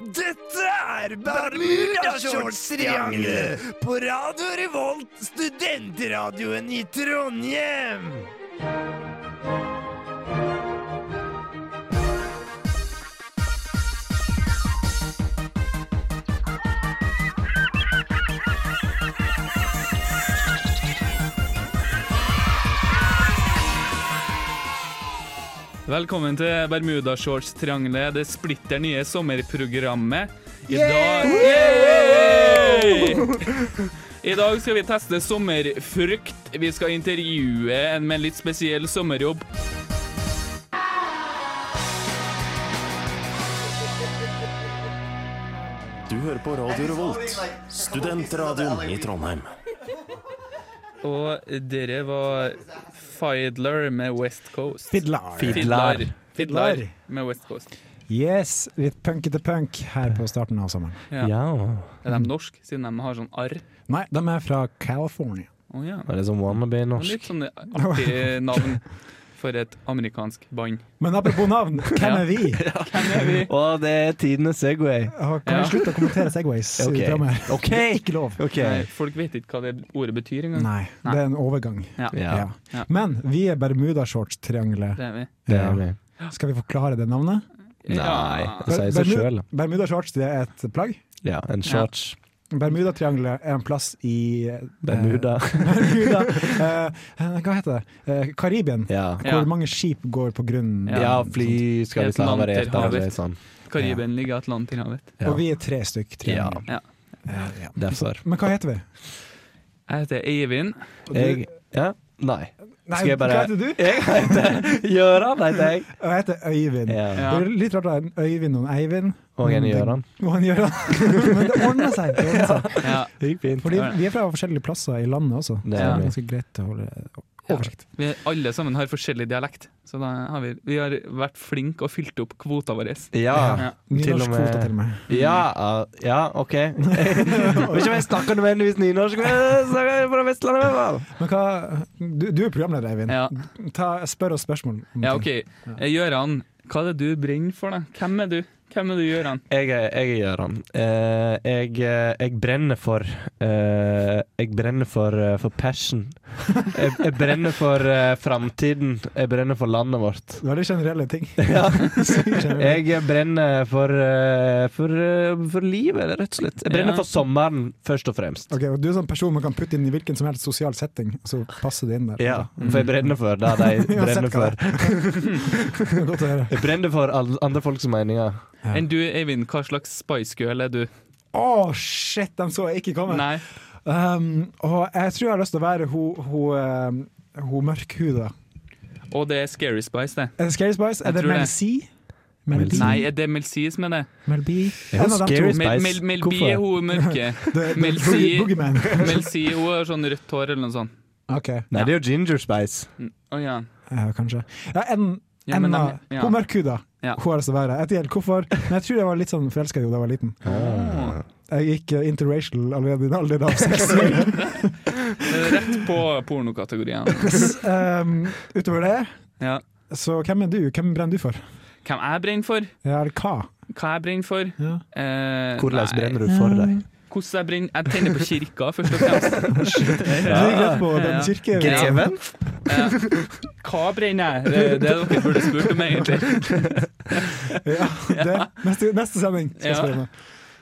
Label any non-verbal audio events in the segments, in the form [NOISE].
Dette er Bermudashortstriangelet på Radio Revolt, studentradioen i Trondheim. Velkommen til Bermudashorts-triangelet, det splitter nye sommerprogrammet. I dag Yay! I dag skal vi teste sommerfrukt. Vi skal intervjue en med en litt spesiell sommerjobb. Du hører på Radio Revolt, studentradioen i Trondheim. Og dere var Fidler med West Coast. Fiddler. Fidler. Fidler Fidler. med West Coast. Yes, litt punkete punk her på starten av sommeren. Ja. Ja. Er de norsk, siden de har sånn arr? Nei, de er fra California. Å ja. Er det som wannabe Det er norsk? Litt sånn artig navn for et amerikansk band. Men apropos navn, [LAUGHS] hvem er vi? Hvem er vi? Å, det er tidenes Segway. Å, Kan Ja. vi slutte å kommentere Segways [LAUGHS] i Ok. programmet? her? Ok. Ikke lov. [LAUGHS] OK. Nei, folk vet ikke hva det ordet betyr engang. Nei, det er en overgang. Ja, Ja, Ja. Ja. Men vi er Bermudashorts-triangelet. det er vi. det er vi. Skal vi forklare det navnet? Nei, Ja. det sier seg Bermu- sjøl. Bermudashorts det er et plagg. Ja, en shorts. Bermudatriangelet er en plass [LAUGHS] i eh, Bermuda. Bermuda. Eh, hva heter det? Eh, Karibien. [LAUGHS] Ja. Hvor Ja. mange skip går på grunnen. Ja, sånn. fly skal Helt visst ha land til variert havet. arbeid sånn. Karibien ligger Atlanterhavet. Ja. Og vi er tre stykk. triangel. Ja. Eh, ja. Derfor. Men hva heter vi? Jeg heter Eivind. Og du- Jeg Ja, nei. Nei, skal jeg bare- Hva heter du? Jeg heter Gøran, heter jeg. Jeg heter Øyvind. Ja. Ja. Det er litt rart å ha en Øyvind og en Eivind. Og en Men det- Gøran. Og en Gøran. Men det [LAUGHS] ordner seg. Det ordner seg. Ja, Det gikk fint. Fordi vi er fra forskjellige plasser i landet også. Det Det er er vi. ganske greit å holde oversikt. vi alle sammen har forskjellig dialekt, så da har vi, vi har vært flinke og fylt opp kvota vår. Ja. Ja. Til og Nynorsk kvota til med og med. Ja, uh, ja, [LAUGHS] OK. Jeg vet ikke om jeg snakker nødvendigvis nynorsk, men jeg snakker fra Vestlandet i hvert fall. Men hva, du, du er programleder, Eivind. Ja. Ta, spør oss spørsmål. om ja, ting. OK. Eh, Gøran, hva er det du brenner for, da? Hvem er du? Hvem er du, Gøran? Jeg er, jeg er Gøran. Eh, jeg, eh, jeg brenner for eh, Jeg brenner for, eh, for passion. Jeg, jeg brenner for eh, framtiden. Jeg brenner for landet vårt. Det var de generelle ting. [LAUGHS] Ja. Generelle. Jeg brenner for, eh, for, eh, for livet, rett og slett. Jeg brenner Ja. for sommeren, først og fremst. Ok, og Du er en sånn person man kan putte inn i hvilken som helst sosial setting, så passer det inn der. Ja, for jeg brenner for det [LAUGHS] de Uansett brenner hva det for. er. [LAUGHS] Godt å høre. Jeg brenner for alle andre folks meninger. Ja. Enn du, Eivind, hva slags Spice Girl er du? Å, shit, den så jeg ikke komme. Nei. Um, og jeg tror jeg har lyst til å være hun hun, um, hun mørkhuda. Og det er Scary Spice, det. Er det Scary Spice? Jeg Er det tror Mel det. C? Mel B? Nei, er det Mel C som er det? Mel B? Ja, En av dem Scary to. Mel, Spice. Mel, Mel B Hvorfor? er hun mørke. Det, [LAUGHS] det, Mel Mel C. Boogeyman. Mel C hun har sånn rødt hår eller noe sånt. OK, Nei, det er jo Ginger Spice. Å ja. ja, kanskje. Ja, en, ja, men Emma. de- ja. Hun mørkhuda. Ja. Hun har lyst til å være. Jeg vet ikke helt hvorfor, men jeg tror jeg var litt sånn forelska i henne da jeg var liten. Åh. Jeg gikk eh, interracial allerede i en alder av [LAUGHS] seks år. Rett på pornokategorien. um, utover det, Ja. så hvem er du? Hvem brenner du for? Hvem jeg brenner for? Ja, eller hva? Hva jeg brenner for? Ja. Eh, Hvordan nei, brenner du for Mm. deg? Hvordan jeg brenner? Jeg tenner på kirka, først og fremst. Du Ja. gikk rett på den Ja. kirke... Greven? Eh, hva brenner jeg? Det er det dere burde spurt om, egentlig. [LAUGHS] Ja, det. Neste, neste sending skal jeg Ja. spørre om det.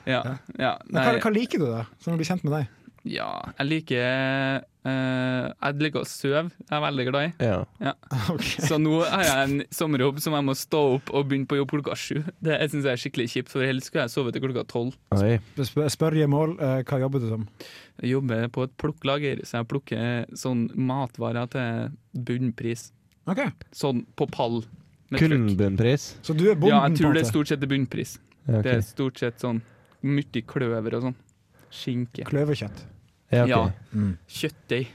Ja, ja, Men nei, Hva, hva liker du, da? Sånn å bli kjent med [LAUGHS] deg? ja jeg liker eh, Jeg liker å sove. Jeg er veldig glad i. Ja. Så nå har jeg en sommerjobb som jeg må stå opp og begynne på jobb klokka sju. Det jeg synes jeg er skikkelig kjipt, for helst skulle jeg sove til klokka tolv. Oi. Spør, spør Jemål, eh, hva jobber du som? Jeg jobber på et plukklager, så jeg plukker sånn matvarer til bunnpris. Ok, Sånn på pall. Med Kun trykk. bunnpris? Så du er bonden, Ja, jeg på tror en det er måte? stort sett bunnpris. Ja, ok. Det er stort sett sånn mye kløver og sånn. Skinke. Kløverkjøtt. Ja, ok. Ja. Mm. Kjøttdeig.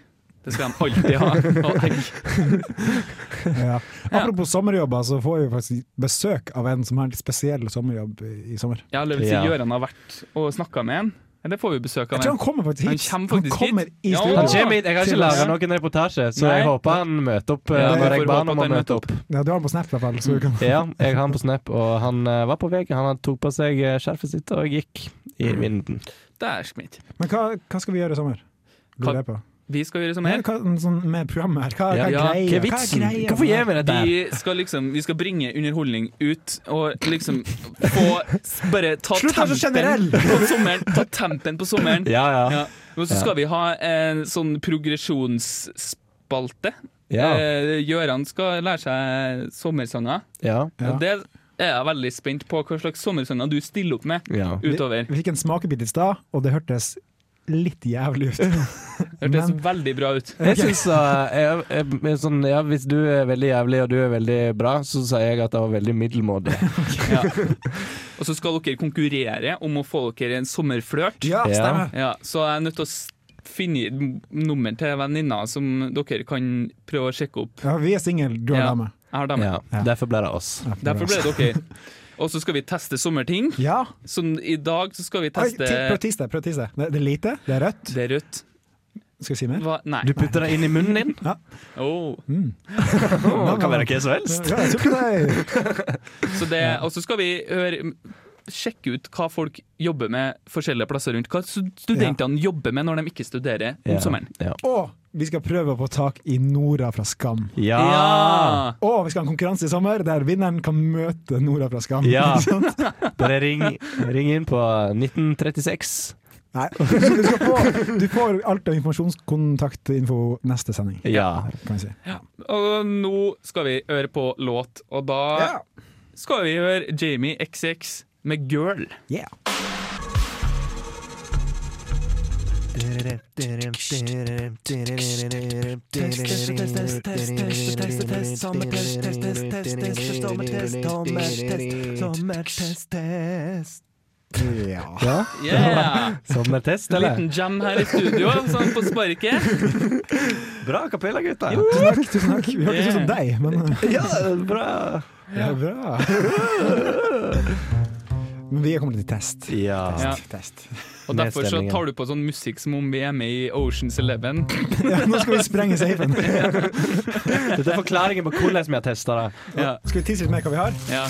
Det skal de alltid ha. Og egg. [LAUGHS] Ja. [LAUGHS] Apropos sommerjobber, så får vi faktisk besøk av en som har en litt spesiell sommerjobb i, i sommer. Jeg har lyst til å si Ja. Gøran har vært og snakka med en. Ja, det får vi besøk Jeg av. tror han en. kommer faktisk Han hit. kommer faktisk han kommer hit. i Ja, studio. Han kommer hit. Jeg har ikke Til oss. laga noen reportasje, så Nei. jeg håper han møter opp. eh, Ja, når jeg jeg får ba håpe han om at å han møter møte opp. Ja, du har han på Snap i hvert fall. Mm. Så du kan. Ja, jeg har han på Snap, og han eh, var på vei. Han tok på seg eh, skjerfet sitt og gikk i vinden. Dæsken mitt. Men hva, hva skal vi gjøre i sommer? Hva- Lurer jeg på. Vi skal gjøre som Nei, her. hva, sånn med programmet her, hva, Ja, hva er ja. Hva greia? er Hva vitsen? greia Hvorfor gjør med vi det der? Vi skal liksom Vi skal bringe underholdning ut og liksom få Bare ta Slutt å være så tempen generell! på sommeren. Ta tempen på sommeren. Ja, ja. Ja. Og så skal vi ha en sånn progresjonsspalte. ja, Eh, Gøran skal lære seg sommersanger. ja, Ja. Og Det er jeg veldig spent på hva slags sommersanger du stiller opp med ja. utover. Vi fikk en smakebit i stad, og det hørtes litt jævlig ut. Hørtes Men- veldig bra ut. Jeg synes, eh, jeg, jeg, jeg, sånn, ja, Hvis du er veldig jævlig og du er veldig bra, så sier jeg at det var veldig middelmådig. Ja. Og så skal dere konkurrere om å få dere en sommerflørt. Ja, stemmer. [LAUGHS] Ja, så jeg er nødt til å s- finne n- nummer til venninna som dere kan prøve å sjekke opp. Ja, vi er single, du har Ja. dame. Jeg har dem. Ja, derfor ble det oss. Ja, det er Derfor bra. ble det dere. Og så skal vi teste sommerting. Ja. Som i dag så skal vi Oi, ti- Prøv å teste tisse. Prøv å tisse. Det, det er lite, det er rødt. Det er rødt. Skal jeg si mer? Hva? Nei. Du putter det inn i munnen [LAUGHS] din? Mm. Oh. Det kan være hva som helst. Ja, jeg tror ikke det. Så det, og så skal vi høre, sjekke ut hva folk jobber med forskjellige plasser rundt. Hva studentene jobber med når de ikke studerer om Ja, sommeren. Ja. Og vi skal prøve å få tak i Nora fra Skam. Ja! Og vi skal ha en konkurranse i sommer der vinneren kan møte Nora fra [LAUGHS] Skam. Ja. Bare ring, ring inn på 1936. [LAUGHS] Nei. Du, skal få, du får alt av informasjonskontaktinfo neste sending, Ja. kan vi si. Og nå skal vi høre på låt, og da skal vi høre Jamie XX med 'Girl'. Yeah. Ja. ja. [LAUGHS] Yeah! Sommertest, En eller? liten jam her i studio, sånn på sparket. Bra kapella, gutta. Tusen takk, tusen takk. Vi hørtes ut som deg, men [LAUGHS] Ja, bra. det er bra. Men vi er kommet til test. Ja. Ja. test. Og derfor så Nedstemningen. tar du på sånn musikk som om vi er med i Oceans Eleven. Ja, nå skal vi sprenge safen. Dette er forklaringen på hvordan vi har testa det. Ja, Skal vi tisse litt mer hva vi har? ja.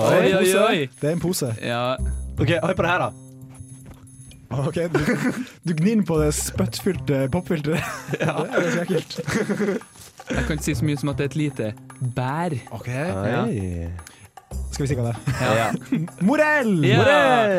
Oi, oi, oi. Det er en pose. Ja. OK, hør på det her, da. Ok, Du, du gnir den på det spyttfylte popfilteret. Ja. [LAUGHS] Det er ganske ekkelt. Jeg kan ikke si så mye som at det er et lite bær. Ja. Skal vi si hva det er? Ja. Morell! Ja.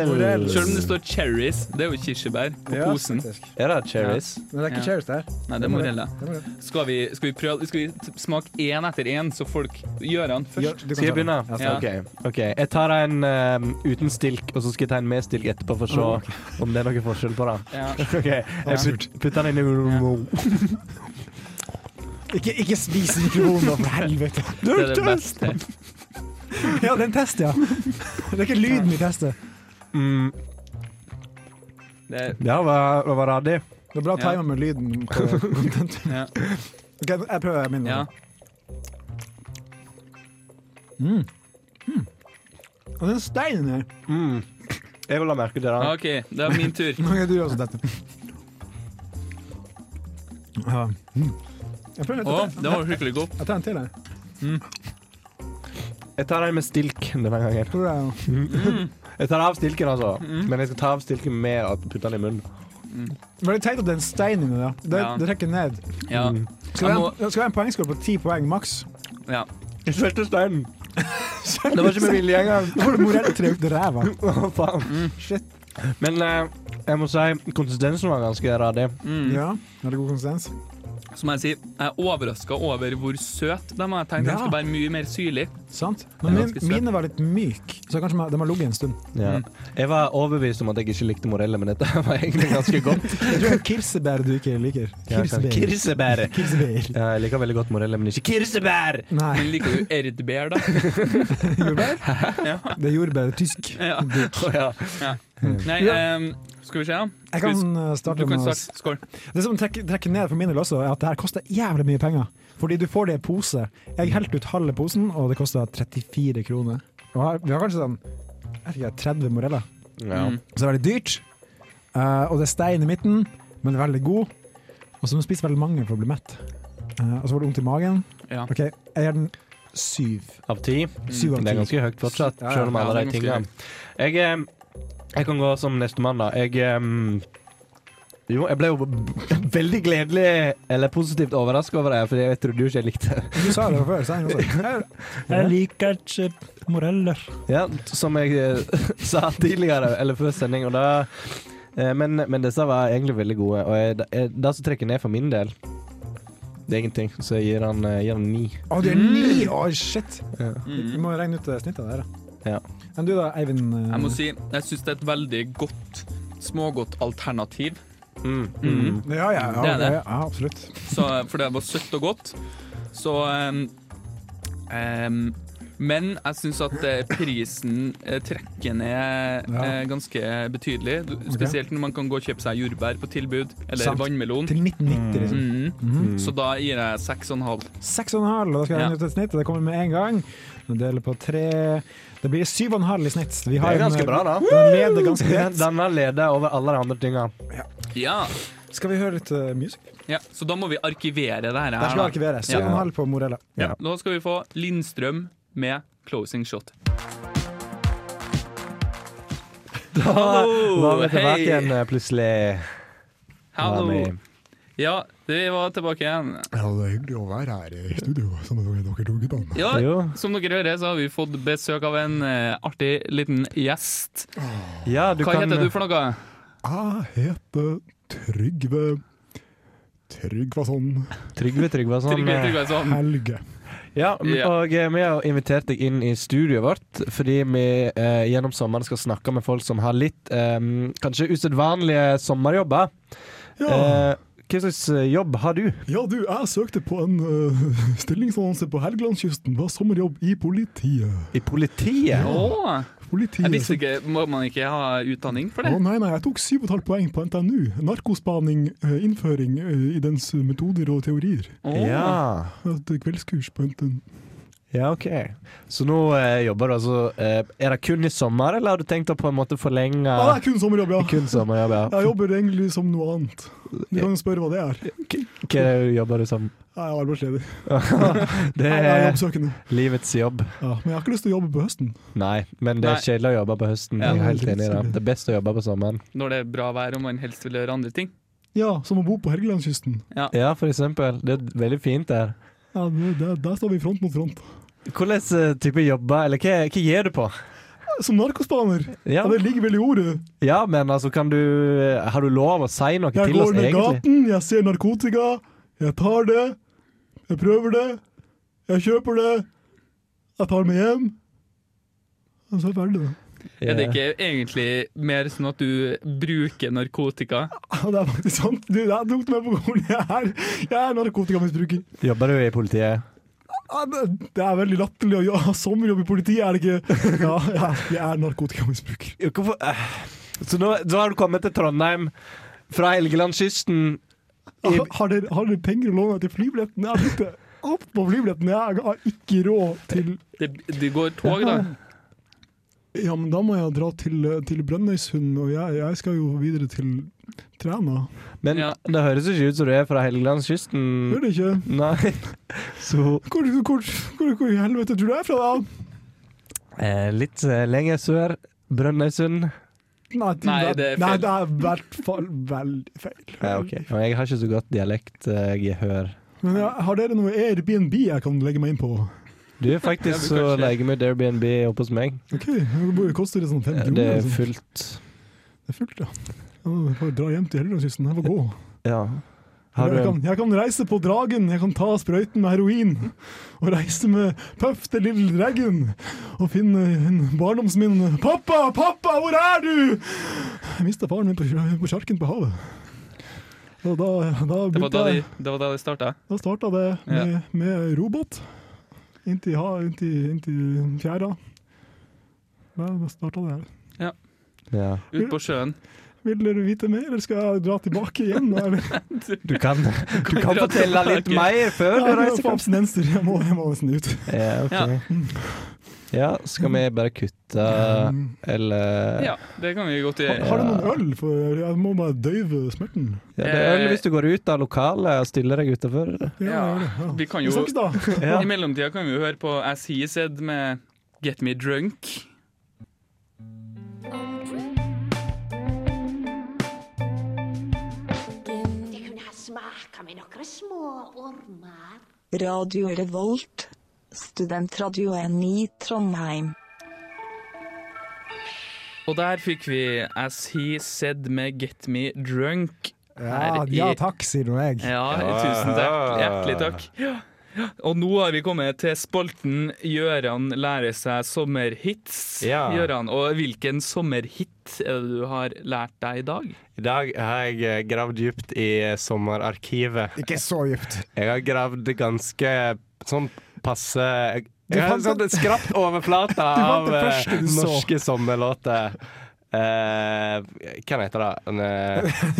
Morell. Selv om det står cherries, det er jo kirsebær på Ja, posen. faktisk. Er det cherries? Men det er ikke Ja. cherries der. Nei, det er morella. Det er morell. Skal vi, skal vi, prøve, skal vi t- smake én etter én, så folk gjør den Ja, først? du kan Skal jeg ta den. begynne? Ja. OK. ok. Jeg tar en eh, uten stilk, og så skal jeg ta en med stilk etterpå for å se om det er noen forskjell på det. Ja. Oh, [LAUGHS] OK, jeg putt, putter den inn i [LAUGHS] Ikke, ikke spis mikrofonen, da, for helvete. Det er det beste. [LAUGHS] Ja, det er en test, ja. Det er ikke lyden i testet. mm, Det er, Ja, hva, hva var det? Det er bra Ja. timet med lyden på [LAUGHS] content. ja. Ok, jeg prøver min. ja. Ja. Og den steinen her. Mm. Jeg vil ha merke til det. da. OK, det er min tur. Ok, du gjør også dette. Ja. Mm. Jeg prøver Å, litt. den var skikkelig god. Jeg tar en til, jeg. Jeg tar en med stilk denne gangen. Tror jeg. Jeg tar av stilken, altså. Men jeg skal ta av stilken med å putte den i munnen. Men det er teit at det er en stein inni da. Det, Ja. det trekker ned. Ja. Skal vi Jeg ha, må- en- skal vi ha en poengskål på ti poeng maks? ja. Jeg svelget steinen. Det var ikke med vilje engang. [LAUGHS] Da får du morell tre ut i [LAUGHS] ræva. Å, faen. Shit. Men eh, jeg må si konsistensen var ganske radig. Mm. Ja, hadde god konsistens. Så må jeg si, jeg er overraska over hvor søt de var. Jeg tenkte de Ja. skulle være mye mer syrlig. Sant. Den Men er min, ganske søt. mine var litt myk, så kanskje de har ligget en stund. Ja. Jeg var overbevist om at jeg ikke likte moreller, men dette [LAUGHS] var egentlig ganske godt. Jeg tror det er kirsebær du ikke liker. [LAUGHS] Ja, Kirsebær. Kirsebær. Kirsebær. Ja, jeg liker veldig godt moreller, men ikke kirsebær! Nei, Men liker du erdbær, da? det er jordbær. Tysk. Ja. Å, [LAUGHS] ja. Nei, em, skal vi se. Jeg Skal vi- kan eh, Du starte kan med å s- starte. Skål. Det som trekker, trekker ned for min del også, er at det her koster jævlig mye penger. Fordi du får det i pose. Jeg helte ut halve posen, og det kosta 34 kroner. Og her, vi har kanskje sånn jeg vet ikke, 30 moreller. Ja. Mm. Så det er veldig dyrt. Eh, og det er stein i midten, men veldig god. Og så må du spise veldig mange for å bli mett. Eh, og så får du vondt i magen. Ja. OK, jeg gir den syv. Av ti. Syv av Mm. Det er ti. ganske høyt fortsatt, Ja, ja. selv om Ja, alle de det er ganske tingene jeg, eh, jeg kan gå som nestemann, da. Jeg eh, Jo, jeg ble jo [LAUGHS] b- veldig gledelig, eller positivt overraska over det, her, fordi jeg trodde jo ikke jeg likte [LAUGHS] det. Du sa det fra før, sa jeg [LAUGHS] også. Jeg liker ikke moreller. Ja, som jeg eh, [LAUGHS] sa tidligere, eller før sending, og da eh, men, men disse var egentlig veldig gode, og jeg, jeg, det som trekker ned for min del det er ingenting, så jeg gir han, eh, gir han ni. Å, du er ni! Å, shit! Ja. Vi Mm. må regne ut eh, snittet der, da. Ja. Men du da, Eivind? eh, Jeg må si, jeg syns det er et veldig godt, smågodt alternativ. Mm. Mhm. Ja, ja, ja, Det er ja, det. ja, absolutt. Så, for det var søtt og godt. Så um, um, Men jeg syns at eh, prisen eh, trekker ned Ja. eh, ganske betydelig. Du- Spesielt når man kan gå og kjøpe seg jordbær på tilbud, eller Sant. vannmelon. Til 1990, liksom. Mhm. Mhm. Så da gir jeg seks og en halv. Seks og en halv, og da skal jeg Ja. regne ut et snitt. og Det kommer med en gang. Vi deler på tre Det blir syv og en halv i snitt. Vi Det er har en- eh, ganske bra, da. [LAUGHS] Den leder ganske greit. Denne leder over alle de andre tinga. Ja. Skal vi høre litt eh, music? ja, Så da må vi arkivere det her. Der skal jeg arkivere. Syv og en halv på Morella. Ja. Nå skal vi få Lindstrøm med 'Closing Shot'. Da var vi tilbake hei. igjen eh, plutselig. Hallo. Var vi- Ja, vi var tilbake igjen. Ja, det er hyggelig å være her i studio sammen med dere to guttene. Ja, Jo. Som dere hører, så har vi fått besøk av en eh, artig liten gjest. Ja, du Hva kan eh, heter du for noe? Jeg heter Trygve Tryggvason eh, Trygve Tryggvason. Trygve eh, Tryggvason. Helge. Ja, m- Ja. og eh, vi har invitert deg inn i studioet vårt fordi vi eh, gjennom sommeren skal snakke med folk som har litt eh, kanskje usedvanlige sommerjobber. Ja, Eh, hva slags eh, jobb har du? ja, du, jeg søkte på en uh, stillingsannonse på Helgelandskysten. Hva sommerjobb i politiet? I politiet? Å, Politiet jeg visste ikke Må man ikke ha utdanning for Å det? nei, nei, jeg tok 7,5 poeng på NTNU. Narkospaning, eh, innføring eh, i dens metoder og teorier. Å. Ja. Jeg hadde kveldskurs på NTNU. ja, OK. Så nå eh, jobber du altså eh, Er det kun i sommer, eller har du tenkt å på en måte forlenge Ja, det er kun sommerjobb, ja. Kun sommerjobb, ja. Jeg jobber egentlig som noe annet. Du kan jo spørre hva det er. Hva jobber du som? Jeg er arbeidsledig. Det Jeg er er jobbsøkende. livets jobb. Ja, men jeg har ikke lyst til å jobbe på høsten. Nei, men det er kjedelig å jobbe på høsten. Ja. Jeg er helt enig i det. Det er best å jobbe på sommeren. Når det er bra vær og man helst vil gjøre andre ting. Ja, som å bo på Helgelandskysten. Ja, for eksempel. Det er veldig fint der. Ja, det, det, der står vi front mot front. Hvordan eh, type jobber, eller hva, hva gjør du på? Som narkospaner! Ja, Ja, det ligger vel i ordet. ja, men altså, kan du Har du lov å si noe Jeg til oss, går ned egentlig? gaten, jeg ser narkotika. Jeg tar det. Jeg prøver det. Jeg kjøper det. Jeg tar det med hjem. Og så er jeg ferdig, da. Er det ikke egentlig mer sånn at du bruker narkotika? Ja, Det er faktisk sant. Du, jeg tok det med på skolen. Jeg er, jeg er narkotikamisbruker. Jobber du i politiet? Ja, Det det er veldig latterlig å gjøre sommerjobb i politiet, er det ikke? Ja, jeg er, jeg er narkotikamisbruker. Hvorfor eh, Så nå, så har du kommet til Trondheim fra Helgelandskysten. Ja, Har dere, har dere penger å låne til flybilletten? Jeg har brukt det opp på flybilletten. Jeg har ikke råd til Det, det går tog, da. Ja, men da må jeg dra til, til Brønnøysund, og jeg, jeg skal jo videre til Træna. Men Ja. det høres jo ikke ut som du er fra Helgelandskysten. Gjør det ikke? Nei. [LAUGHS] Så Hvor, hvor, hvor, hvor i helvete tror du jeg er fra, da? eh, litt eh, lenger sør. Brønnøysund. Nei, de- Nei, det er Nei, feil. det er i hvert fall veldig feil. Ja, ok. Og Jeg har ikke så godt dialektgehør. Men ja, har dere noe Airbnb jeg kan legge meg inn på? Du, faktisk [LAUGHS] Ja, du så kan ikke- leier vi ut Airbnb oppe hos meg. Ok, det koster det sånn fem Eh, kroner? Det er liksom. fullt. det er fullt, ja. ja jeg får dra hjem til Helgelandskysten, jeg får gå. Ja. Har jeg, du kan, jeg kan reise på dragen, jeg kan ta sprøyten med heroin. Og reise med Puff the Little Dragon og finne en barndomsminne. Pappa, pappa, hvor er du?! Jeg mista faren min på, sjø- på sjarken på havet. Og da, da, Det var da begynte de, jeg, det var da de starta. da starta det Ja. med, med robåt. Inntil, ha- inntil, inntil fjæra. Da, da starta det her. Ja. Ut på sjøen. Vil dere vite mer, eller skal jeg dra tilbake [LAUGHS] igjen? Eller? Du kan, [LAUGHS] du kan dra fortelle tilbake. litt mer før du Jeg reiser får abstinenser, jeg må, jeg må nesten ut. Ja, ok. Ja, skal vi bare kutte, eller Ja, det kan vi godt Har, gjøre. har du Eh, noen øl? For jeg må bare døyve smerten. Ja, det eh, er øl hvis du går ut av lokalet og stiller deg utafor. Ja, Ja, det er det, ja. vi kan Vi jo snakkes, da! Ja. I mellomtida kan vi jo høre på As He Said med Get Me Drunk. Det kunne ha smaka med noen små ormer. Radio Revolt, studentradioen i Trondheim. Og der fikk vi As He Said med Get Me Drunk. Ja, Her i- ja takk, sier nå jeg. Ja, tusen takk. Hjertelig takk. Ja. Og nå har vi kommet til spalten Gjøran lærer seg sommerhits. Ja. Gjøran, og hvilken sommerhit er det du har lært deg i dag? I dag har jeg eh, gravd dypt i sommerarkivet. Ikke så [LAUGHS] dypt. Jeg har gravd ganske sånn passe Du Jeg har fant sånn den- skrapt [LAUGHS] overflate fant av eh, det første du så. norske sommerlåter. Eh, hva heter det? En, [LAUGHS] eh, En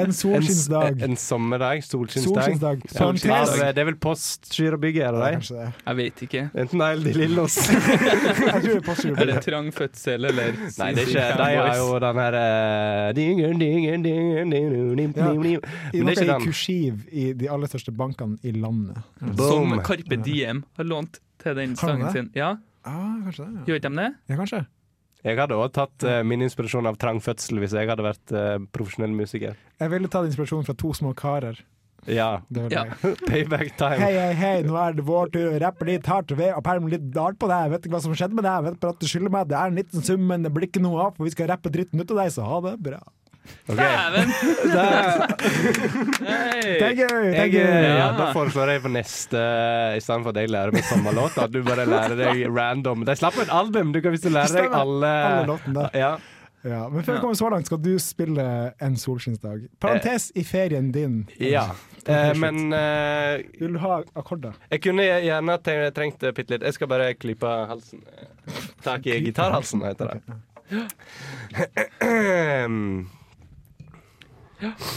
en, s- solskinnsdag. en sommerdag? Solskinnsdag? Solskinnsdag. Av, Parentes. eh, det er vel Postgirobygget, er det det? Kanskje det. Jeg vet ikke. Enten det eller De [LAUGHS] Lillos. Jeg tror det passer jo Er det trang fødsel, eller Nei, det er ikke De har jo den her eh, dinger, dinger, dinger, dinger, nim, Ja. nim, nim. I Men noe det er i ikke den. kursiv i de aller største bankene i landet. Som Boom. Carpe Diem har lånt til den Har de sangen det? sin. Ja, Ah, kanskje det, ja. Gjør ikke de det? ja kanskje. Jeg hadde òg tatt eh, min inspirasjon av trang fødsel hvis jeg hadde vært eh, profesjonell musiker. Jeg ville tatt inspirasjon fra to små karer. [LAUGHS] Ja. Det ville Ja. jeg. Payback time. Hei, hei, hei, nå er det vår tur. Rapper litt hardt ved og permer litt hardt på deg. Vet ikke hva som skjedde med deg, vet bare at du skylder meg. Det er en liten sum, men det blir ikke noe av, for vi skal rappe dritten ut av deg, så ha det bra. Dæven! Det er Hey. [LAUGHS] gøy! Det er Jeg, eh, gøy. ja, da foreslår jeg for neste I stedet for at jeg lærer meg samme låt, at du bare lærer deg random. De slapp et album! Du kan visst lære deg alle, Alle låtene der. Ja. Ja, men før vi kommer så langt, skal du spille En solskinnsdag. Parentes i ferien din. ja. Eh, men eh, Vil du ha akkorder? jeg kunne gjerne te- trengt eh, bitte litt. Jeg skal bare klype halsen. Eh, Tak i gitarhalsen, heter det.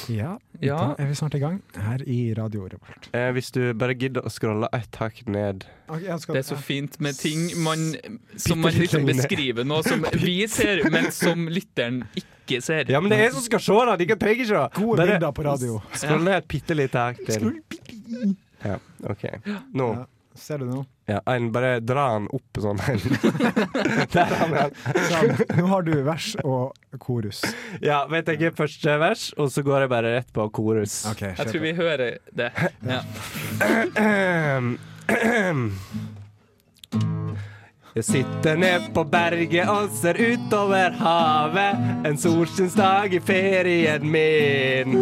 Ja, Ja. da er vi snart i gang her i Radio Revolt. [CLEARS THROAT] Eh, hvis du bare gidder å scrolle ett hakk ned Okay, jeg skal, Det er så fint med ting man, Bitte som man litt liksom lenger ned. beskriver nå som vi ser, men som lytteren ikke ser. Ja, men det er jeg som skal se, da! Dere trenger ikke det! Gode Bare- bilder på radio. Skroll ned et bitte lite hakk til. Ja, OK. Nå. Ja. Ser du nå? Ja, en bare dra den opp sånn. Der har vi den. Sånn. Nå har du vers og korus. Ja, vet jeg ikke første vers, og så går jeg bare rett på korus. Jeg tror vi hører det. Ja. Ahem. Ahem. Jeg sitter ned på berget og ser utover havet En solskinnsdag i ferien min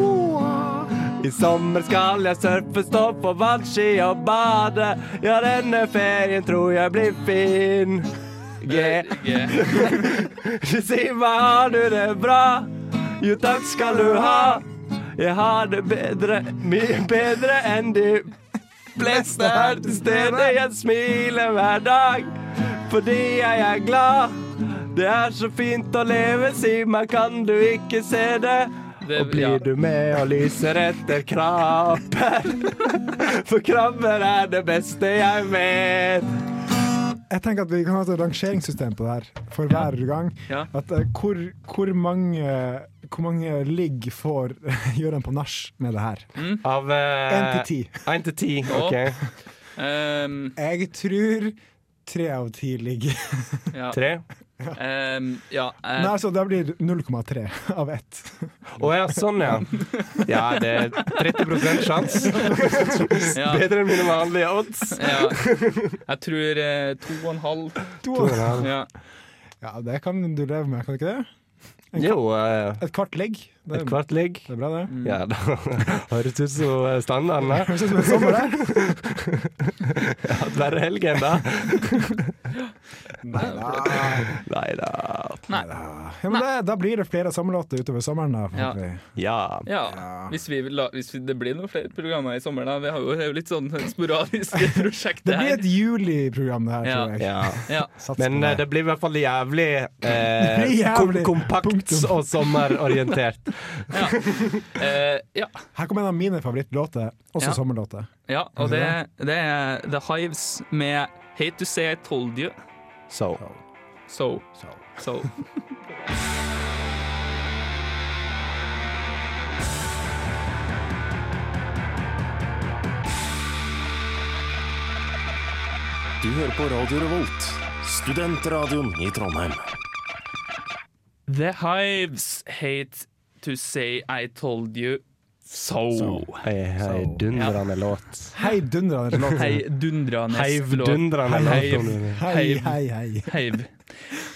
I sommer skal jeg surfe, stå på vannski og bade Ja, denne ferien tror jeg blir fin G G. Si meg, har du det bra? Jo, takk skal du ha. Jeg har det bedre, mye bedre enn de fleste her til stede. Jeg smiler hver dag fordi jeg er glad. Det er så fint å leve, si meg, kan du ikke se det? Det- og blir ja. du med og lyser etter krabber? [LAUGHS] For krabber er det beste jeg vet. Jeg tenker at Vi kan ha et rangeringssystem på det her for hver gang. Ja. At, eh, hvor, hvor mange Hvor mange ligg får [LAUGHS] Gøran på nach med det her? Av Én Eh. til ti. Én til ti. ok. Um, Jeg tror tre av ti ligg. Eh. ja. Tre. Um, ja. eh, Nei, så det blir 0,3 av ett. Å ja, sånn ja. Ja, det er 30 sjanse. ja. Bedre enn mine vanlige odds. Ja. Jeg tror eh, to og en halv. Ja. Ja, det kan du leve med, kan du ikke det? Jo, eh, Et kvart Mm. ligg. Det, et er- kvart ligg. det er bra, det. Ja, da eh, høres ut som standarden. da. [LAUGHS] Høres ut som en sommer, det. Verre helgen, da. Nei da. Nei da. Ja, men det, da blir det flere sommerlåter utover sommeren, da. Ja. forhåpentlig. Ja. ja. Hvis, vi vil la, hvis vi, det blir noen flere programmer i sommer, da. Vi har jo, det er jo litt sånn sporadiske [LAUGHS] Det prosjekter blir her. et juliprogram, det her, Ja. tror jeg. ja. Ja. Sats på Men eh, det blir i hvert fall jævlig, eh, blir [LAUGHS] jævlig. Kom kompakt Punktum. og sommerorientert. Eh, ja. Her kommer en av mine favorittlåter, også Ja. sommerlåter. ja. Og det, det er The Hives med Hate to say I told you So. so. So. Du hører på Radio Revolt, studentradioen i Trondheim. The Hives hate to say I told you so. Ei heidundrende låt. Hei, dundrende låt. Hei, dundranes Heivdundrende Heiv. låt. Hei, hei, hei. Heiv.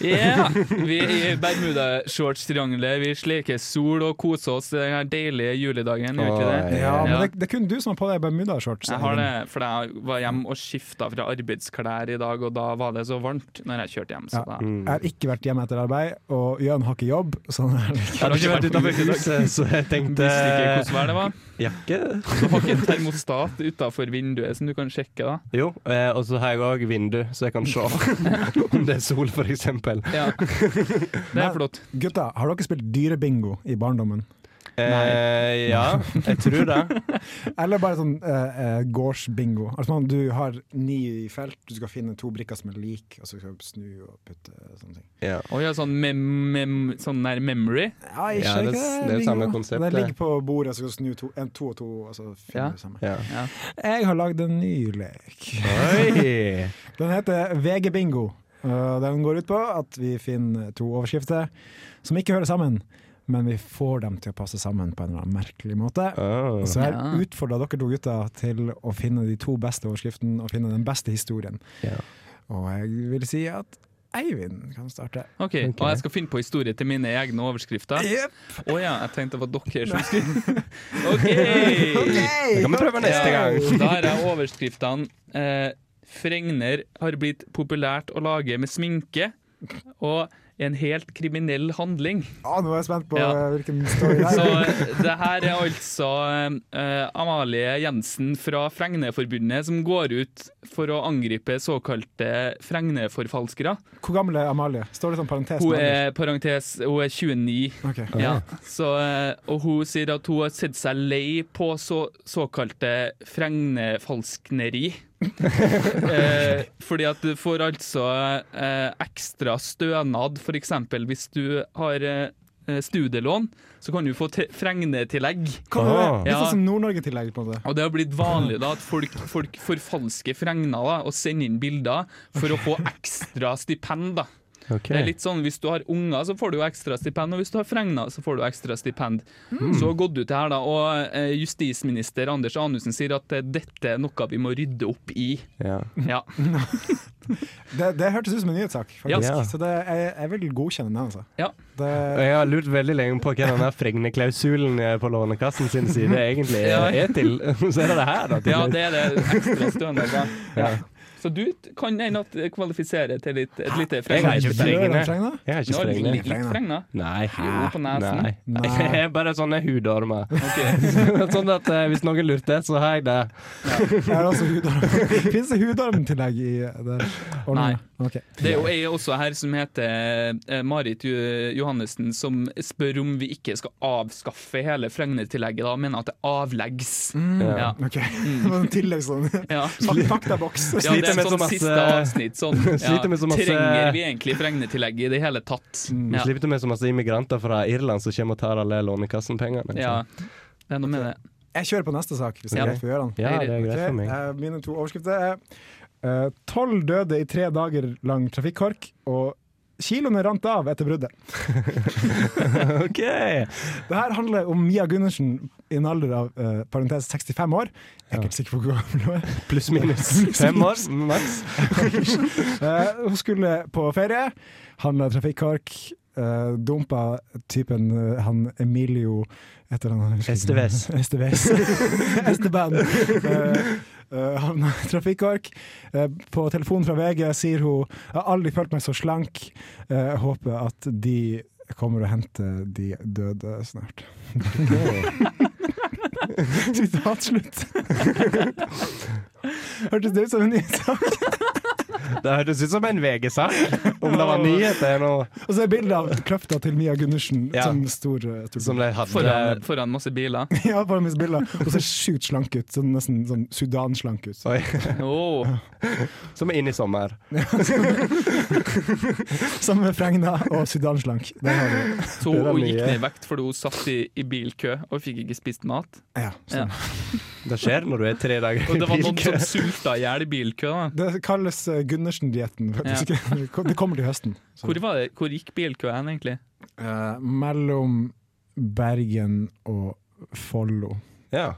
Ja! [LAUGHS] Vi er i Bermuda-shorts-triangelet. Vi sleker sol og koser oss denne deilige juledagen. Gjør ikke vi det? Ja, men Ja. det, det er kun du som har på deg bermudashorts. Jeg har det, for jeg var hjemme og skifta fra arbeidsklær i dag, og da var det så varmt når jeg kjørte hjem. Så Ja. Mm. da. Jeg Mm. har ikke vært hjemme etter arbeid, og Jørn har ikke jobb. Så [LAUGHS] det er litt- Jeg har ikke vært utenfor huset, så jeg tenkte Visste ikke hvordan vær det var. Jakke? Så har ikke en termostat utafor vinduet som du kan sjekke, da. Jo, eh, og så har jeg òg vindu, så jeg kan se [LAUGHS] om det er sol, for eksempel. Ja. [LAUGHS] Det er flott. Gutta, har dere spilt dyrebingo i barndommen? Eh, ja, jeg tror det. Eller bare sånn eh, eh, gårdsbingo. Altså sånn, Du har ni felt, du skal finne to brikker som er like, og så skal du snu og putte sånne ting. Ja. Å ja, sånn, mem, mem, sånn der memory. Ja, Ja, ikke, det- ikke, det er jo samme bingo. konsept, Den det. ligger på bordet, og så skal du snu to, en, to og to, og så finner Ja. du sammen. Ja. Jeg har lagd en ny lek. Oi! Den heter VG Bingo. Uh, Den går ut på at vi finner to overskrifter som ikke hører sammen, men vi får dem til å passe sammen på en eller annen merkelig måte. Oh. Så jeg Ja. utfordrer dere to gutter til å finne de to beste overskriftene og finne den beste historien. Ja. Og jeg vil si at Eivind kan starte. Ok, Og jeg skal finne på historie til mine egne overskrifter? Å ja, jeg tenkte det var dere som skulle OK! Det kan vi prøve neste gang. Da har jeg overskriftene. Eh, Frengner har blitt populært å lage med sminke. Og en helt kriminell handling. Å, nå er jeg spent på Ja. eh, hvilken story det Så er. eh, det her er altså eh, Amalie Jensen fra Frengneforbundet som går ut for å angripe såkalte Frengneforfalskere. Hvor gammel er Amalie? Står det sånn parentes? Hun med alder? er, parentes, hun er 29 Ok. Ja, så, eh, og hun sier at hun har sett seg lei på så, såkalte fregnefalskneri. eh, fordi at du får altså eh, ekstra stønad, f.eks. hvis du har eh, studielån, så kan du få te- fregnetillegg. Kom, det er Åh. Litt Ja. sånn som Nord-Norge-tillegg, på en måte. Og det har blitt vanlig da at folk, folk forfalsker fregner da, og sender inn bilder for å få ekstra stipend. da. Ok. Det er litt sånn, Hvis du har unger, så får du jo ekstra stipend, og hvis du har fregner, så får du ekstra stipend. Hmm. Så har gått ut det her da, og eh, Justisminister Anders Anundsen sier at eh, dette er noe vi må rydde opp i. Ja. Ja, Det, det hørtes ut som en nyhetssak, Ja. faktisk. Så det, jeg, jeg vil godkjenne den. altså. ja. Det, Og Jeg har lurt veldig lenge på hva denne Fregne-klausulen eh, på Lånekassen sin side egentlig Ja. er til. [LAUGHS] Så er det [LAUGHS] det her, da. til ja slutt. det er det ekstra stønad. da. Ja. Så du t- kan en at kvalifiserer til litt, et lite har ikke fregner. fregner. Gjør den fregna? Jeg har Ja, ikke litt, Fregne. litt fregner. Nei. Jo, på nesen. Nei. Nei. Jeg er [LAUGHS] bare sånne hudormer. Ok. [LAUGHS] sånn at eh, hvis noen lurte, så har jeg det. Jeg har også hudorm. [LAUGHS] Fins det hudormtillegg i det? ordningen? Ok. Det er jo ei også her som heter eh, Marit Jo- Johannessen, som spør om vi ikke skal avskaffe hele fregnetillegget, da, og mener at det avleggs. Hmm. Mm, Ja. Ok, [LAUGHS] det var en tilleggsordning. Ja. Takk deg, boks. Mm. Ja, det Sliter er med så sånn masse- siste avsnitt. [LAUGHS] Sånn, ja. Sliter med så masse- Mm, Trenger vi egentlig fregnetillegget i det hele tatt? Vi Ja. slipper med så masse immigranter fra Irland som kommer og tar alle Lånekassen-pengene. ja. Det er noe med det. Jeg kjører på neste sak, hvis det Ja. er greit for Gøran. Ja, det er greit for meg. eh, mine to overskrifter er eh, 'Tolv døde i tre dager lang trafikkork', og 'Kiloene rant av etter bruddet'. [LAUGHS] OK! Det her handler om Mia Gundersen i en alder av eh, parentes 65 år. Jeg er ikke helt sikker på hvor gammel hun er. Pluss minus fem år, maks. Eh, hun skulle på ferie, handla trafikkork, eh, dumpa typen eh, han Emilio etter han Esteves. [LAUGHS] Esteves. Esteban. Eh, eh, Havna i trafikkork. Eh, På telefon fra VG sier hun Jeg har aldri følt meg så slank. Eh, Håper at de kommer og henter de døde snart. [LAUGHS] Sitat slutt. Hørtes det ut som en nyhetssak? Det hørtes ut som en VG-sak, om det var nyheter nå Og så er bildet av kløfta til Mia Gundersen Ja. som stor eh, stor- som de hadde. Foran, foran masse [LAUGHS] biler. [LAUGHS] Ja, på hennes bilder. Og ser sjukt slank ut. Sånn, nesten sånn Sudan-slank ut. Oi, Åh, som er inne i sommer. Samme med Fregna og Sudan-slank. Der har du- så Det er hun mye. gikk ned i vekt fordi hun satt i, i bilkø og fikk ikke spist mat. Ja, Ja. sånn. Det skjer når du er tre dager Og i det var noen bilkø. som sulta i hjel i bilkø. Da. Det kalles eh, Gundersen-dietten. faktisk. [LAUGHS] Det kommer til høsten. Så, Hvor, var det, hvor gikk bilkøen egentlig? eh, mellom Bergen og Follo. Ja.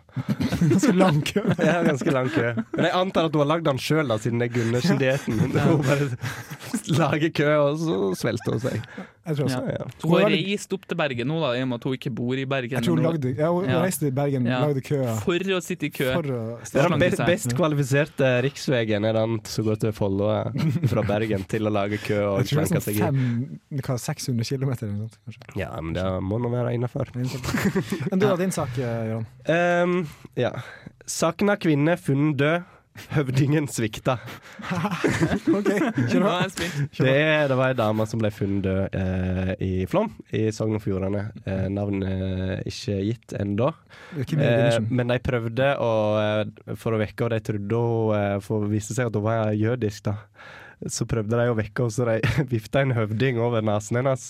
Ganske lang kø. Jeg har ganske lang kø. Men jeg antar at hun har lagd den sjøl, siden det er Gundersen-dietten. Hun bare lager kø, og så svelter hun seg. Jeg tror også. Ja. Jeg tror det Hun har var litt- reist opp til Bergen nå, da, i og med at hun ikke bor i Bergen. Jeg tror hun men hun- lagde, ja, hun hun Ja. reiste til Bergen, Ja. lagde køer For å sitte i kø. for eh, å Det er den Slanke best, seg. best kvalifiserte riksveien er den som går til Follo eh, fra Bergen til å lage kø Jeg og tror det slanke er seg i. sånn fem, hva, 600 km eller noe sånt. kanskje. Ja, men det må nå være innafor. Det er innenfor. Men du har din sak, eh, Jørgen. Um, ja. Savna kvinne funnet død. Høvdingen svikta. OK, kjør Nå på. er jeg spent. Det, er, det var ei dame som ble funnet død eh, i Flåm, i Sogn og Fjordane. Eh, navnet er ikke gitt ennå. Ikke Mia Eh, Gundersen. men de prøvde å, eh, for å vekke henne. De trodde hun eh, For det viste seg at hun var jødisk, da. Så prøvde de å vekke henne, så de [LAUGHS] vifta en høvding over nesen hennes.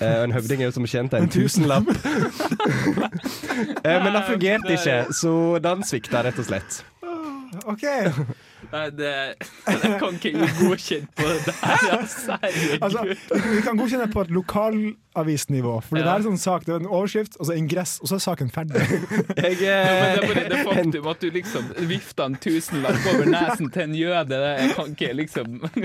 Eh, og en høvding er jo som kjent [LAUGHS] en tusenlapp. [LAUGHS] eh, men det fungerte ikke, så den svikta rett og slett. OK! Nei, det, [LAUGHS] jeg kan ikke gi godkjent på [LAUGHS] det her. Altså, herregud. Altså, vi kan godkjenne på et lokalavisnivå. For det Ja. er en sånn sak, det er en overskrift, og så ingress, og så er saken ferdig. Jeg, eh, Jo, men det er bare [LAUGHS] det faktum at du liksom vifta en tusenlapp over nesen til en jøde. Det jeg kan ikke liksom [LAUGHS] kan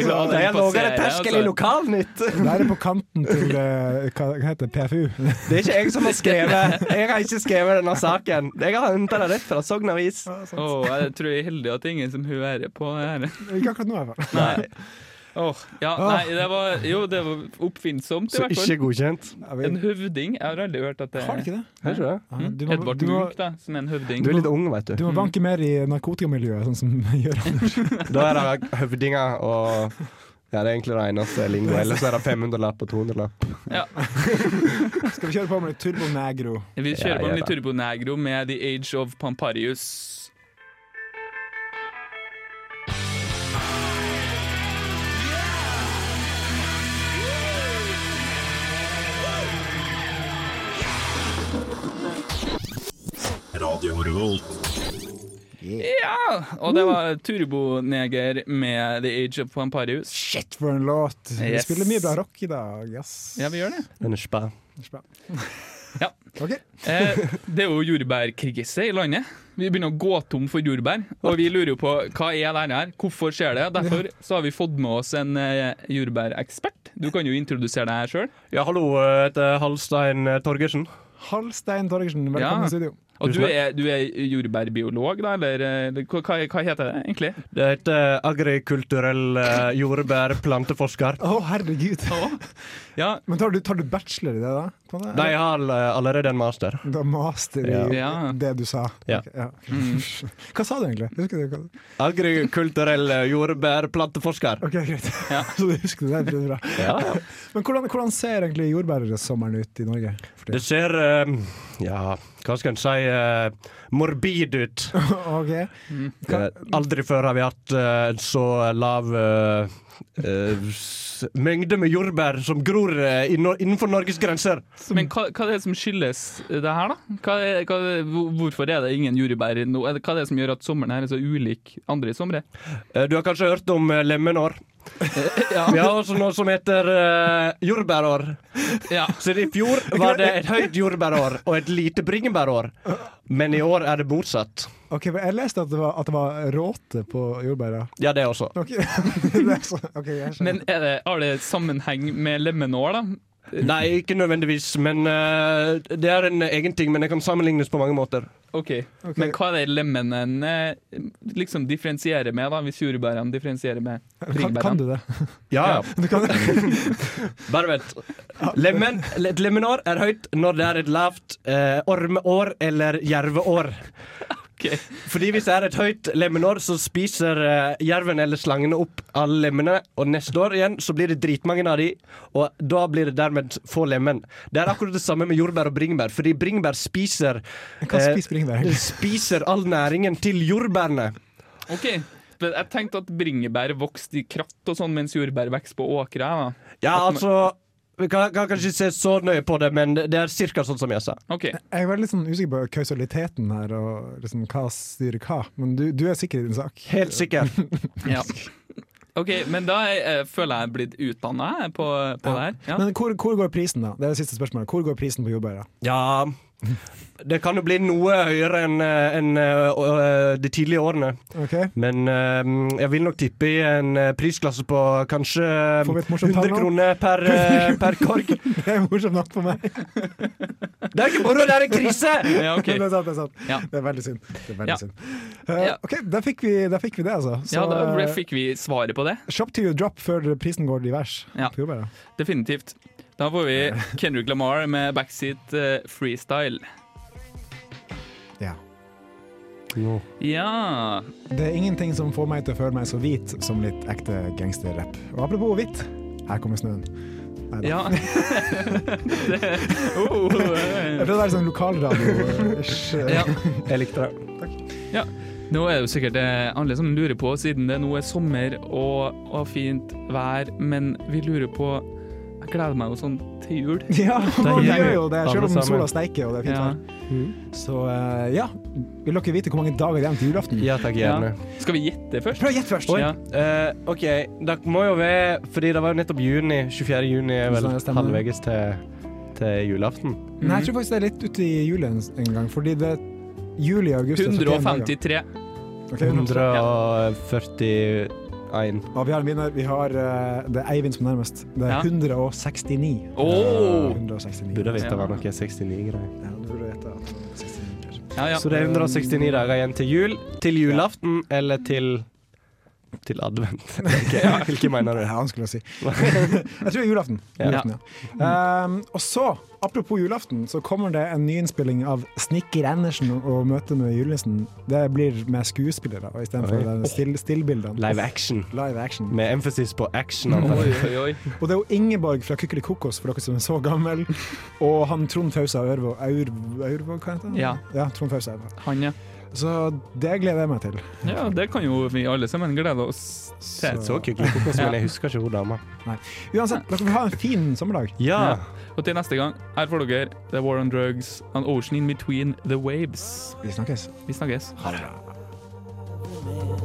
altså, la den det er lavere passere, terskel i altså. lokalnytt! Det her er på kanten til eh, hva, hva heter det, PFU. Det er ikke jeg som har skrevet Jeg har ikke skrevet denne saken. Jeg har henta det rett fra Sogn Avis. Åh, jeg tror jeg er heldig at det er ingen som hører på det her. Ikke akkurat nå, i hvert fall. Nei. Åh, ja, nei, det var Jo, det var oppfinnsomt, i Så hvert fall. ikke godkjent. Ja, vi- En høvding. Jeg har aldri hørt at det Mm. Har du ikke det? Er ikke det? Ja, du må- Edvard du må- Munch, da, som er en høvding. Du er litt ung, veit du. Du må banke mer i narkotikamiljøet, sånn som [LAUGHS] Gøran. Da er det høvdinger og Ja, det er egentlig det eneste [LAUGHS] lingo. Ellers er det 500-lapp og 200-lapp. Skal vi kjøre på med litt Turbo Negro? Vi Ja, kjører gjør på med det. Turbo Negro med The Age of Pamparius. Radio Revolt. Ja! Og det var Turboneger med The Age of Pamparius. Shit, for en låt! Vi Yes. spiller mye bra rock i dag, ass. Ja, vi gjør det. Den er spa. Spa. Ja. Ok. Eh, det er jo jordbærkrise i landet. Vi begynner å gå tom for jordbær. Og vi lurer jo på hva er det her, hvorfor skjer det? Derfor så har vi fått med oss en eh, jordbærekspert. Du kan jo introdusere deg her sjøl. Ja, hallo, jeg heter Halstein Torgersen. Halstein Torgersen, Ja. velkommen i studio. Og du Tusen takk. er, du er jordbærbiolog, da? Eller eh, hva, hva hva heter det egentlig? Det heter agrikulturell eh, jordbærplanteforsker. Å, herregud! Ja, Men tar du, tar du bachelor i det, da? på en måte? De har eh, allerede en master. Du har master i Ja. Ja. det du sa. Ja. Ok, ja. [LAUGHS] Hva sa du egentlig? Husker du hva? Agrikulturell eh, jordbærplanteforsker. Ok, greit. [LAUGHS] Så du husker det, det er bra. Ja, ja. Men hvordan, hvordan ser egentlig jordbærsommeren ut i Norge? for Det tiden? ser eh, Ja, hva skal en si? eh, morbid ut. [LAUGHS] Ok. Eh, aldri før har vi hatt eh, en så lav eh, eh, s- mengde med jordbær som gror eh, inno- innenfor Norges grenser. Men hva, hva er det som skyldes det her, da? Hva er, hva, hvor- hvorfor er det ingen jordbær nå? Er det- Hva er det som gjør at sommeren her er så ulik andre somre? Eh, du har kanskje hørt om eh, lemenår? Vi har også noe som heter eh, jordbærår. Ja. Så i fjor var det et høyt jordbærår og et lite bringebærår. Men i år er det motsatt. Ok, for Jeg leste at det var, at det var råte på jordbæra. Ja, det også. Ok, det er så, ok, jeg skjønner. Men er det, har det sammenheng med lemenår, da? Nei, ikke nødvendigvis, men eh, det er en egen ting. Men det kan sammenlignes på mange måter. Ok, Ok. Men hva er det lemenene eh, liksom differensierer med, da, hvis jordbærene differensierer med kan, bringebærene? kan du det? Ja, ja. [LAUGHS] Du kan det? Bare vent. Lemen, et lemenår er høyt når det er et lavt eh, ormeår eller jerveår. Ok. Fordi hvis det er et høyt lemenår, så spiser eh, jerven eller slangene opp alle lemmene. Og neste år igjen så blir det dritmange av de, og da blir det dermed få lemen. Det er akkurat det samme med jordbær og bringebær, fordi bringebær spiser Hva eh, spiser bringebær? det spiser all næringen til jordbærene. Ok, men jeg tenkte at bringebær vokste i kratt og sånn, mens jordbær vokste på åkre. jeg, da. Ja, altså Vi kan, kan kanskje ikke se så nøye på det, men det er cirka sånn som jeg sa. [LAUGHS] Ok, Jeg er veldig sånn usikker på kausaliteten her, og liksom hva styrer hva. Men du, du er sikker i din sak. Helt sikker. ja. Ok, men da eh, føler jeg jeg er blitt utdanna på, på det her. Ja. Men hvor, hvor går prisen, da? Det er det siste spørsmålet. Hvor går prisen på jordbæra? Ja Det kan jo bli noe høyere enn eh, enn, eh, å- eh, de tidlige årene. Ok? [LAUGHS] Men eh, jeg vil nok tippe i en eh, prisklasse på kanskje eh, Får vi et morsomt 100 tall nå? kroner per, eh, per korg. Det er morsomt nok for meg. Det er ikke moro, det er en krise! Ja, [LAUGHS] ok. Det er sant, det er sant. Ja. Det er veldig synd. Det er veldig Ja. synd. Eh, Ja. OK, da fikk, vi, da fikk vi det, altså. Så ja, da ble- eh, fikk vi svaret på det. shop till you drop før prisen går divers Ja. på jordbæra. Definitivt. Da får vi [LAUGHS] Kendrick Lamar med backseat eh, freestyle. Ja. Ja Det er ingenting som får meg til å føle meg så hvit som litt ekte gangsterrapp. Og apropos hvitt, her kommer snøen. Ja. [LAUGHS] det, oh, Jeg eh. prøvde å være sånn lokalradio-ish. [LAUGHS] [LAUGHS] ja. Jeg likte det. Nå er det jo sikkert eh, alle som lurer på, siden det nå er sommer og, og fint vær, men vi lurer på Jeg gleder meg jo sånn til jul. Ja, man gjør gjør jo det, alle selv om sammen. sola steiker og det er fint Ja. vær. Så eh, ja, vil dere vite hvor mange dager igjen til julaften? Ja takk, gjerne. Skal vi gjette først? Prøv å gjette først! Oi. Ja. Eh, OK, det må jo være Fordi det var jo nettopp juni. 24. juni er vel Så det Sånn, stemmer. halvveis til, til julaften. Nei, Mm. jeg tror faktisk det er litt ute i juli en, en gang, fordi det er juli og august. altså, er 71 dager. 153. Ok, 141 Og vi har en vinner. Vi har eh, Det er Eivind som er nærmest. Det Ja. er 169. Åh! 169. Burde vite vite hva hva noe 69-greier. Ja, du burde vite at det er 69. Ja, ja. Så det er 169 dager igjen til jul. Til julaften eller til til advent. Okay. Hvilke mener du? Det er vanskelig å si. Jeg tror det er julaften. Ja. julaften ja. Ehm, og så, apropos julaften, så kommer det en nyinnspilling av Snikker Andersen og møtet med julenissen. Det blir med skuespillere og istedenfor Oi. de still, stillbildene. Live action. Live action. Med emphasis på action. Oi, antar jeg. oi, oi. Og det er jo Ingeborg fra Kykkeli Kokos, for dere som er så gammel. Og han Trond Fausa Aurvåg Aurvåg, Aurvåg, hva heter han? Ja. Trond Fausa Aurvåg. Han, ja. Så det gleder jeg meg til. Ja, det kan jo vi alle sammen glede oss til. Så kukkelig kokos, men jeg husker ikke hun dama. Uansett, dere får ha en fin sommerdag. Ja. Og til neste gang, her får dere The War on Drugs, An Ocean in Between The Waves. Vi snakkes. Vi snakkes. Med